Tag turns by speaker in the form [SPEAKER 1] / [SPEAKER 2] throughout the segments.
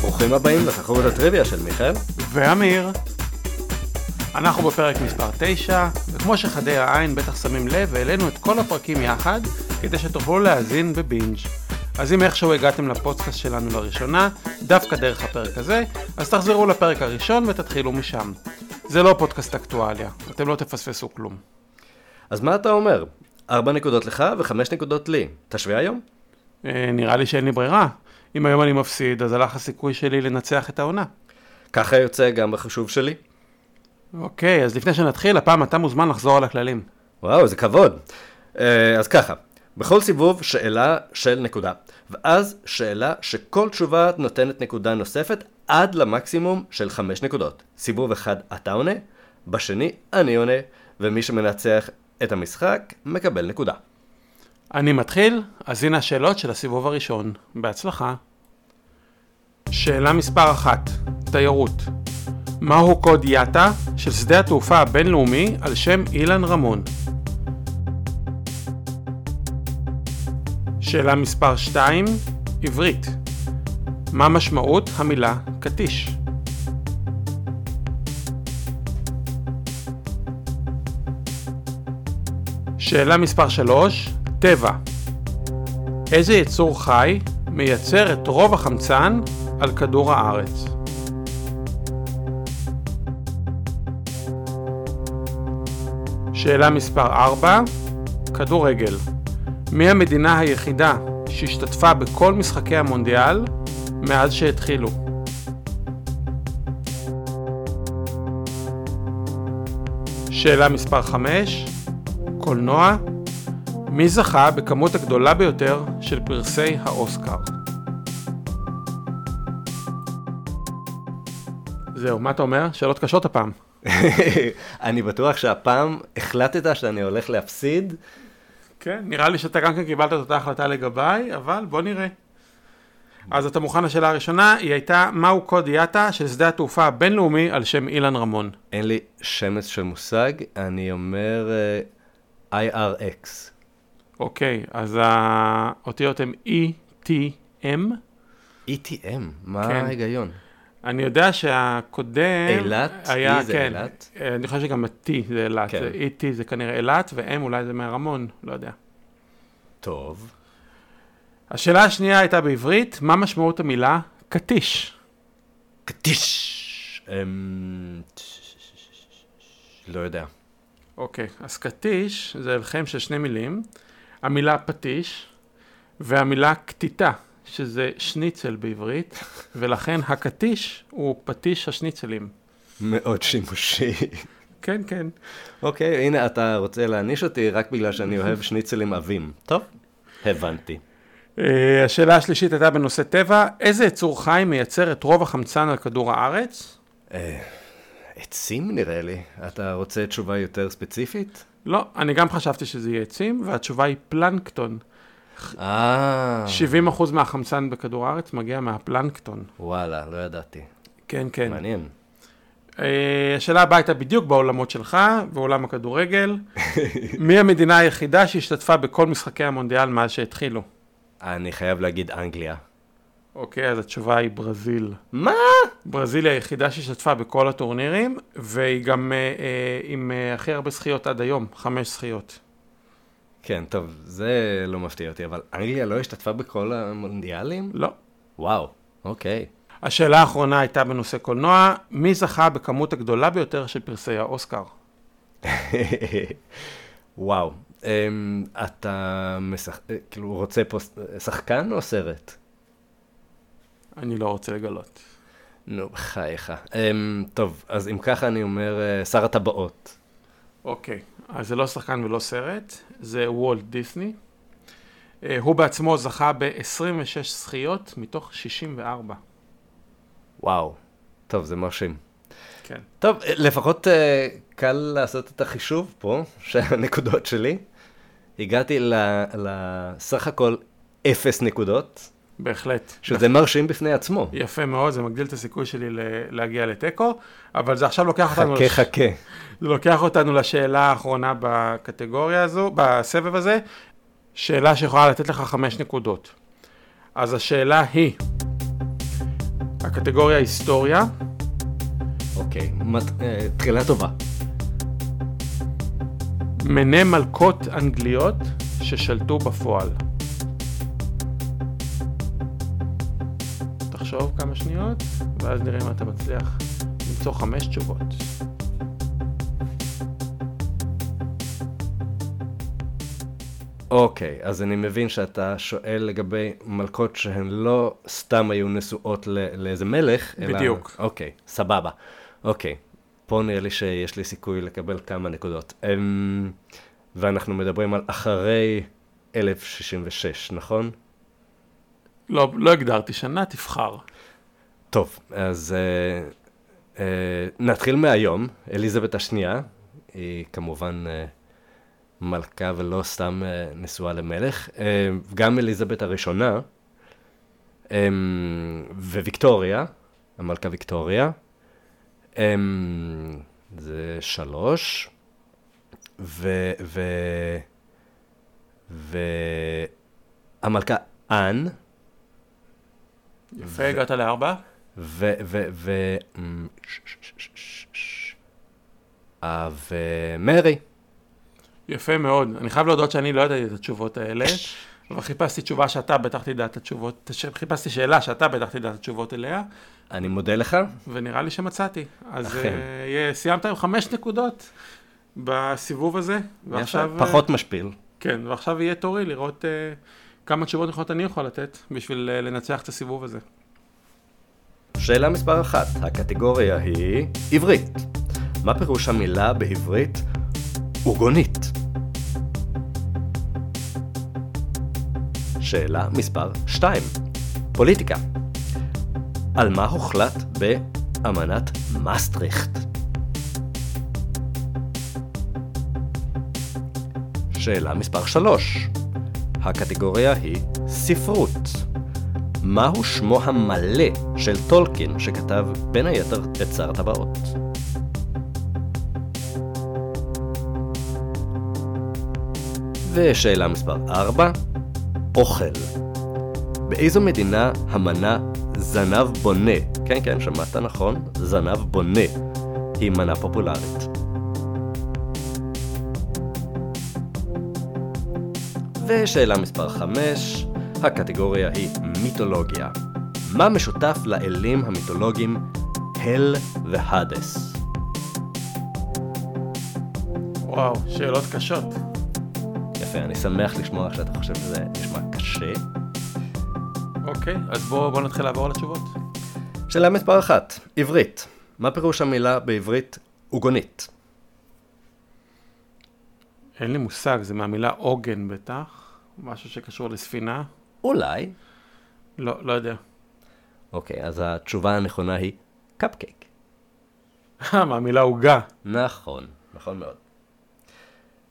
[SPEAKER 1] ברוכים הבאים לתחרות הטריוויה של מיכאל.
[SPEAKER 2] ואמיר. אנחנו בפרק מספר 9, וכמו שחדי העין בטח שמים לב, העלינו את כל הפרקים יחד, כדי שתוכלו להאזין בבינג'. אז אם איכשהו הגעתם לפודקאסט שלנו לראשונה, דווקא דרך הפרק הזה, אז תחזרו לפרק הראשון ותתחילו משם. זה לא פודקאסט אקטואליה, אתם לא תפספסו כלום.
[SPEAKER 1] אז מה אתה אומר? ארבע נקודות לך וחמש נקודות לי. תשווה היום?
[SPEAKER 2] אה, נראה לי שאין לי ברירה. אם היום אני מפסיד, אז הלך הסיכוי שלי לנצח את העונה.
[SPEAKER 1] ככה יוצא גם בחישוב שלי.
[SPEAKER 2] אוקיי, אז לפני שנתחיל, הפעם אתה מוזמן לחזור על הכללים.
[SPEAKER 1] וואו, איזה כבוד. אה, אז ככה, בכל סיבוב שאלה של נקודה, ואז שאלה שכל תשובה נותנת נקודה נוספת עד למקסימום של חמש נקודות. סיבוב אחד אתה עונה, בשני אני עונה, ומי שמנצח את המשחק מקבל נקודה.
[SPEAKER 2] אני מתחיל, אז הנה השאלות של הסיבוב הראשון. בהצלחה. שאלה מספר אחת, תיירות. מהו קוד יאטה של שדה התעופה הבינלאומי על שם אילן רמון? שאלה מספר 2, עברית. מה משמעות המילה קטיש? שאלה מספר 3, טבע. איזה יצור חי מייצר את רוב החמצן על כדור הארץ? שאלה מספר 4, כדורגל. מי המדינה היחידה שהשתתפה בכל משחקי המונדיאל מאז שהתחילו? שאלה מספר 5, קולנוע. מי זכה בכמות הגדולה ביותר של פרסי האוסקר? זהו, מה אתה אומר? שאלות קשות הפעם.
[SPEAKER 1] אני בטוח שהפעם החלטת שאני הולך להפסיד,
[SPEAKER 2] כן, נראה לי שאתה גם כן קיבלת את אותה החלטה לגביי, אבל בוא נראה. אז אתה מוכן לשאלה הראשונה, היא הייתה מהו קוד יאטה של שדה התעופה הבינלאומי על שם אילן רמון.
[SPEAKER 1] אין לי שמץ של מושג, אני אומר אה, IRX.
[SPEAKER 2] אוקיי, אז האותיות הן E E-T-M.
[SPEAKER 1] ETM, E מה
[SPEAKER 2] כן.
[SPEAKER 1] ההיגיון?
[SPEAKER 2] אני יודע שהקודם...
[SPEAKER 1] אילת?
[SPEAKER 2] היה,
[SPEAKER 1] E זה
[SPEAKER 2] כן,
[SPEAKER 1] אילת?
[SPEAKER 2] אה, אני חושב שגם ה-T זה אילת.
[SPEAKER 1] כן.
[SPEAKER 2] כן. E-T זה כנראה אילת, ו-M אולי זה מהרמון, לא יודע.
[SPEAKER 1] טוב.
[SPEAKER 2] השאלה השנייה הייתה בעברית, מה משמעות המילה קטיש?
[SPEAKER 1] קטיש! אמ, לא יודע.
[SPEAKER 2] אוקיי, אז קטיש זה הלחם של שני מילים, המילה פטיש והמילה קטיטה, שזה שניצל בעברית, ולכן הקטיש הוא פטיש השניצלים.
[SPEAKER 1] מאוד שימושי.
[SPEAKER 2] כן, כן.
[SPEAKER 1] אוקיי, הנה אתה רוצה להעניש אותי רק בגלל שאני אוהב שניצלים עבים. טוב, הבנתי.
[SPEAKER 2] אה, השאלה השלישית הייתה בנושא טבע, איזה יצור חי מייצר את רוב החמצן על כדור הארץ?
[SPEAKER 1] אה, עצים נראה לי. אתה רוצה תשובה יותר ספציפית?
[SPEAKER 2] לא, אני גם חשבתי שזה יהיה עצים, והתשובה היא פלנקטון.
[SPEAKER 1] אה,
[SPEAKER 2] 70% מהחמצן בכדור הארץ מגיע מהפלנקטון.
[SPEAKER 1] וואלה, לא ידעתי.
[SPEAKER 2] כן, כן.
[SPEAKER 1] מעניין.
[SPEAKER 2] אה, השאלה הבאה הייתה בדיוק בעולמות שלך, בעולם הכדורגל. מי המדינה היחידה שהשתתפה בכל משחקי המונדיאל מאז שהתחילו?
[SPEAKER 1] אני חייב להגיד אנגליה.
[SPEAKER 2] אוקיי, אז התשובה היא ברזיל.
[SPEAKER 1] מה?
[SPEAKER 2] ברזיל היא היחידה שהשתתפה בכל הטורנירים, והיא גם אה, אה, עם אה, הכי הרבה זכיות עד היום, חמש זכיות.
[SPEAKER 1] כן, טוב, זה לא מפתיע אותי, אבל אנגליה לא השתתפה בכל המונדיאלים?
[SPEAKER 2] לא.
[SPEAKER 1] וואו, אוקיי.
[SPEAKER 2] השאלה האחרונה הייתה בנושא קולנוע, מי זכה בכמות הגדולה ביותר של פרסי האוסקר?
[SPEAKER 1] וואו, אמ, אתה משח... אה, כאילו רוצה פה ס- שחקן או סרט?
[SPEAKER 2] אני לא רוצה לגלות.
[SPEAKER 1] נו, בחייך. אמ, טוב, אז אם ככה אני אומר אה, שר הטבעות.
[SPEAKER 2] אוקיי, אז זה לא שחקן ולא סרט, זה וולט דיסני. אה, הוא בעצמו זכה ב-26 זכיות מתוך 64.
[SPEAKER 1] וואו. טוב, זה מרשים.
[SPEAKER 2] כן.
[SPEAKER 1] טוב, אה, לפחות אה, קל לעשות את החישוב פה, שהנקודות שלי. הגעתי ל- לסך הכל אפס נקודות,
[SPEAKER 2] בהחלט.
[SPEAKER 1] שזה מרשים בפני עצמו.
[SPEAKER 2] יפה מאוד, זה מגדיל את הסיכוי שלי ל- להגיע לתיקו, אבל זה עכשיו לוקח אותנו,
[SPEAKER 1] חכה, חכה.
[SPEAKER 2] זה לוקח אותנו לשאלה האחרונה בקטגוריה הזו, בסבב הזה, שאלה שיכולה לתת לך חמש נקודות. אז השאלה היא, הקטגוריה היסטוריה,
[SPEAKER 1] אוקיי, מת- אה, תחילה טובה.
[SPEAKER 2] מנה מלכות אנגליות ששלטו בפועל. תחשוב כמה שניות, ואז נראה אם אתה מצליח למצוא חמש תשובות.
[SPEAKER 1] אוקיי, אז אני מבין שאתה שואל לגבי מלכות שהן לא סתם היו נשואות ל- לאיזה מלך, אלא...
[SPEAKER 2] בדיוק.
[SPEAKER 1] אוקיי, סבבה. אוקיי, פה נראה לי שיש לי סיכוי לקבל כמה נקודות. אמ, ואנחנו מדברים על אחרי 1066, נכון?
[SPEAKER 2] לא, לא הגדרתי שנה, תבחר.
[SPEAKER 1] טוב, אז אה, אה, נתחיל מהיום. אליזבת השנייה, היא כמובן אה, מלכה ולא סתם אה, נשואה למלך. אה, גם אליזבת הראשונה, אה, וויקטוריה, המלכה ויקטוריה, אה, זה שלוש, ו... ו... והמלכה אן,
[SPEAKER 2] יפה, הגעת לארבע?
[SPEAKER 1] ו... ו... ו... אמ, ש- ש- ש- ש- ש- ש- אה, ומרי.
[SPEAKER 2] יפה מאוד. אני חייב להודות שאני לא ידעתי את התשובות האלה, אבל חיפשתי תשובה שאתה בטח תדע את התשובות, ש- חיפשתי שאלה שאתה בטח תדע את התשובות אליה,
[SPEAKER 1] אני מודה לך.
[SPEAKER 2] ונראה לי שמצאתי. אז
[SPEAKER 1] אכן.
[SPEAKER 2] אה, יהיה- סיימת עם חמש נקודות בסיבוב הזה, ועכשיו... אה,
[SPEAKER 1] פחות משפיל.
[SPEAKER 2] כן, ועכשיו יהיה תורי לראות אה, כמה תשובות נכונות אני יכול לתת בשביל אה, לנצח את הסיבוב הזה.
[SPEAKER 1] שאלה מספר אחת, הקטגוריה היא עברית. מה פירוש המילה בעברית עוגונית? שאלה מספר 2, פוליטיקה. על מה הוחלט באמנת מסטריכט? שאלה מספר 3, הקטגוריה היא ספרות. מהו שמו המלא של טולקין שכתב בין היתר את שר הטבעות? ושאלה מספר 4, אוכל. באיזו מדינה המנה זנב בונה, כן כן שמעת נכון, זנב בונה, היא מנה פופולרית. ושאלה מספר 5, הקטגוריה היא מיתולוגיה. מה משותף לאלים המיתולוגיים הל והאדס?
[SPEAKER 2] וואו, שאלות קשות.
[SPEAKER 1] יפה, אני שמח לשמוע שאתה חושב שזה נשמע קשה.
[SPEAKER 2] אוקיי, אז בואו בוא נתחיל לעבור על התשובות.
[SPEAKER 1] שאלה מספר 1, עברית. מה פירוש המילה בעברית עוגונית?
[SPEAKER 2] אין לי מושג, זה מהמילה עוגן בטח, משהו שקשור לספינה.
[SPEAKER 1] אולי.
[SPEAKER 2] לא, לא יודע.
[SPEAKER 1] אוקיי, אז התשובה הנכונה היא קפקייק.
[SPEAKER 2] אה, מהמילה עוגה.
[SPEAKER 1] נכון, נכון מאוד.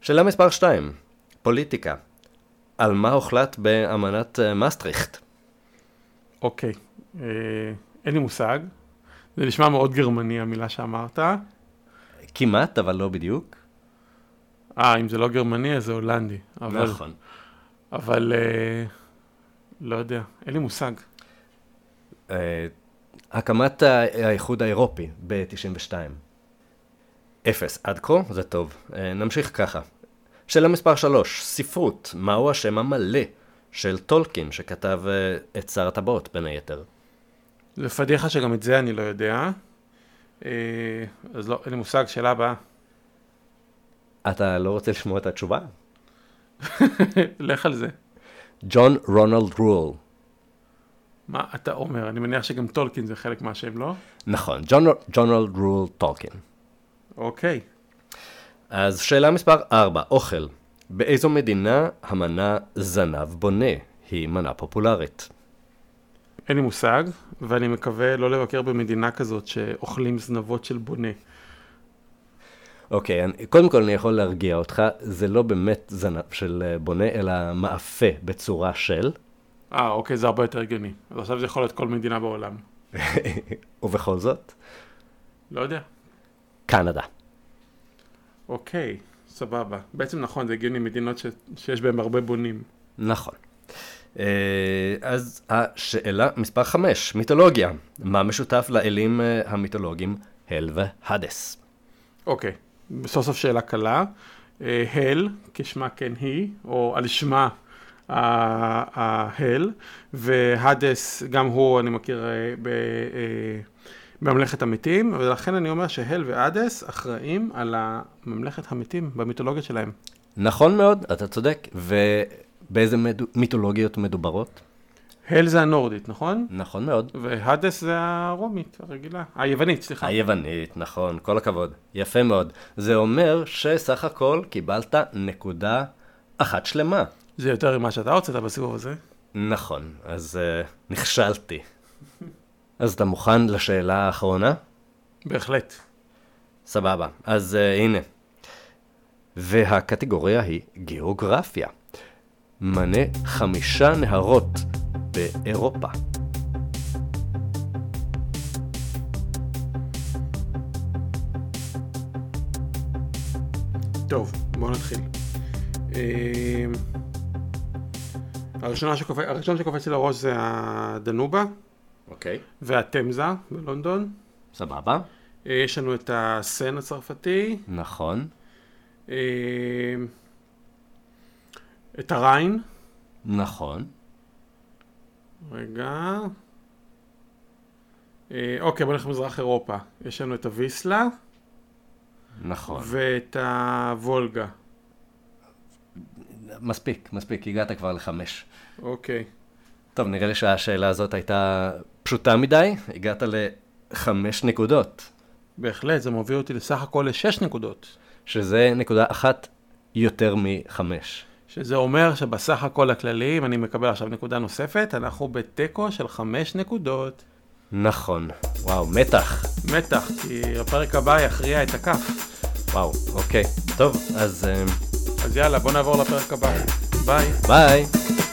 [SPEAKER 1] שאלה מספר 2, פוליטיקה. על מה הוחלט באמנת אה, מסטריכט?
[SPEAKER 2] אוקיי, אה, אין לי מושג. זה נשמע מאוד גרמני המילה שאמרת.
[SPEAKER 1] כמעט, אבל לא בדיוק.
[SPEAKER 2] אה, אם זה לא גרמני אז זה הולנדי. אבל,
[SPEAKER 1] נכון.
[SPEAKER 2] אבל אה, לא יודע, אין לי מושג.
[SPEAKER 1] אה, הקמת ה- האיחוד האירופי ב-92. אפס עד כה, זה טוב. אה, נמשיך ככה. שאלה מספר 3, ספרות, מהו השם המלא של טולקין שכתב אה, את שר הטבעות בין היתר?
[SPEAKER 2] זה פדיחה שגם את זה אני לא יודע. אה, אז לא, אין לי מושג, שאלה הבאה.
[SPEAKER 1] אתה לא רוצה לשמוע את התשובה?
[SPEAKER 2] לך על זה.
[SPEAKER 1] ג'ון רונלד רול.
[SPEAKER 2] מה אתה אומר? אני מניח שגם טולקין זה חלק מהשם, לא?
[SPEAKER 1] נכון, ג'ון ג'ון רונלד רול טולקין.
[SPEAKER 2] אוקיי.
[SPEAKER 1] אז שאלה מספר 4, אוכל. באיזו מדינה המנה זנב בונה היא מנה פופולרית?
[SPEAKER 2] אין לי מושג, ואני מקווה לא לבקר במדינה כזאת שאוכלים זנבות של בונה.
[SPEAKER 1] אוקיי, אני, קודם כל אני יכול להרגיע אותך, זה לא באמת זנב של אה, בונה, אלא מאפה בצורה של,
[SPEAKER 2] אה, אוקיי, זה הרבה יותר הגיוני. אז עכשיו זה יכול להיות כל מדינה בעולם.
[SPEAKER 1] ובכל זאת,
[SPEAKER 2] לא יודע.
[SPEAKER 1] קנדה.
[SPEAKER 2] אוקיי, סבבה. בעצם נכון, זה הגיוני מדינות ש... שיש בהן הרבה בונים.
[SPEAKER 1] נכון. אה, אז השאלה מספר 5, מיתולוגיה. מה משותף לאלים אה, המיתולוגיים הל והדס?
[SPEAKER 2] אוקיי, סוף סוף שאלה קלה. אה, הל, כשמה כן היא, או על שמה ה- ההל, והדס, גם הוא, אני מכיר, אה, ב- אה, בממלכת המתים, ולכן אני אומר שהל והדס אחראים על ממלכת המתים במיתולוגיה שלהם.
[SPEAKER 1] נכון מאוד, אתה צודק. ובאיזה מדו- מיתולוגיות מדוברות?
[SPEAKER 2] הל זה הנורדית, נכון?
[SPEAKER 1] נכון מאוד.
[SPEAKER 2] והדס זה הרומית הרגילה, היוונית, סליחה.
[SPEAKER 1] היוונית, נכון, כל הכבוד. יפה מאוד. זה אומר שסך הכל קיבלת נקודה אחת שלמה.
[SPEAKER 2] זה יותר ממה שאתה הוצאת בסיבוב הזה.
[SPEAKER 1] נכון, אז uh, נכשלתי. אז אתה מוכן לשאלה האחרונה?
[SPEAKER 2] בהחלט.
[SPEAKER 1] סבבה. אז uh, הנה. והקטגוריה היא גיאוגרפיה. מנה חמישה נהרות באירופה.
[SPEAKER 2] טוב, בואו נתחיל. אמ, הראשונה שקופ... הראשון שקופץ לי לראש זה הדנובה
[SPEAKER 1] אוקיי.
[SPEAKER 2] והתמזה בלונדון.
[SPEAKER 1] סבבה.
[SPEAKER 2] אה, יש לנו את הסן הצרפתי,
[SPEAKER 1] נכון.
[SPEAKER 2] אמ, את הריין,
[SPEAKER 1] נכון.
[SPEAKER 2] רגע. אה, אוקיי, בוא נלך למזרח אירופה. יש לנו את הוויסלה
[SPEAKER 1] נכון.
[SPEAKER 2] ואת הוולגה.
[SPEAKER 1] מספיק, מספיק, הגעת כבר לחמש.
[SPEAKER 2] אוקיי.
[SPEAKER 1] טוב, נראה לי שהשאלה הזאת הייתה פשוטה מדי, הגעת לחמש נקודות,
[SPEAKER 2] בהחלט, זה מוביל אותי לסך הכל לשש נקודות.
[SPEAKER 1] שזה נקודה אחת יותר מחמש.
[SPEAKER 2] שזה אומר שבסך הכל הכללי, אם אני מקבל עכשיו נקודה נוספת, אנחנו בתיקו של חמש נקודות.
[SPEAKER 1] נכון. וואו, מתח.
[SPEAKER 2] מתח, כי הפרק הבא יכריע את הכף.
[SPEAKER 1] וואו, אוקיי. טוב, אז אה,
[SPEAKER 2] אז יאללה, בוא נעבור לפרק הבא. ביי.
[SPEAKER 1] ביי.